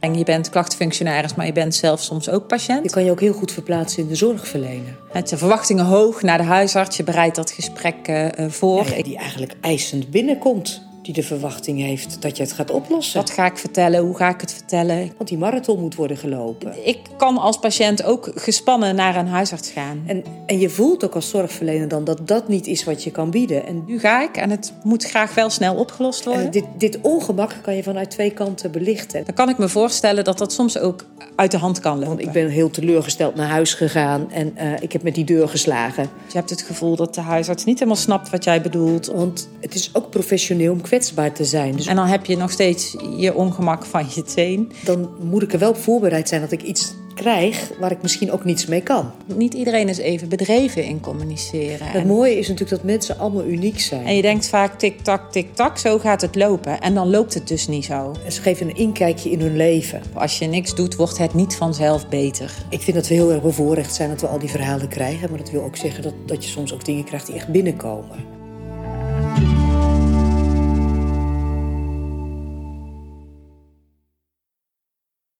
En je bent klachtfunctionaris, maar je bent zelf soms ook Je patiënt. kan je ook heel goed verplaatsen in de zorgverlener. Het zijn verwachtingen hoog naar de huisarts. Je bereidt dat gesprek eh, eh, voor. Ja, die eigenlijk eisend binnenkomt. Die de verwachting heeft dat je het gaat oplossen. Wat ga ik vertellen? Hoe ga ik het vertellen? Want die marathon moet worden gelopen. Ik kan als patiënt ook gespannen naar een huisarts gaan. En, en je voelt ook als zorgverlener dan dat dat niet is wat je kan bieden. En, Nu ga ik en het moet graag wel snel opgelost eh, worden. dit, dit ongemak kan je vanuit twee kanten belichten. Dan kan ik me voorstellen dat dat soms ook uit de hand kan Want lopen. ik ben heel teleurgesteld naar huis gegaan en eh, ik heb met die deur geslagen. Je hebt het gevoel dat de huisarts niet helemaal snapt wat jij bedoelt. Want het is ook professioneel om kwetsbaar te zijn. Dus En dan heb je nog steeds je ongemak van je teen. dan moet ik er wel op voorbereid zijn dat ik iets krijg waar ik misschien ook niets mee kan. Niet iedereen is even bedreven in communiceren. Het En, mooie is natuurlijk dat mensen allemaal uniek en zijn. je denkt vaak tik-tak, tik-tak, zo gaat het lopen. En dan loopt het dus niet zo. En ze geven een inkijkje in hun leven. Als je niks doet, wordt het niet vanzelf beter. Ik vind dat we heel erg bevoorrecht zijn dat we al die verhalen krijgen. Maar dat wil ook zeggen dat, dat je soms ook dingen krijgt die echt binnenkomen.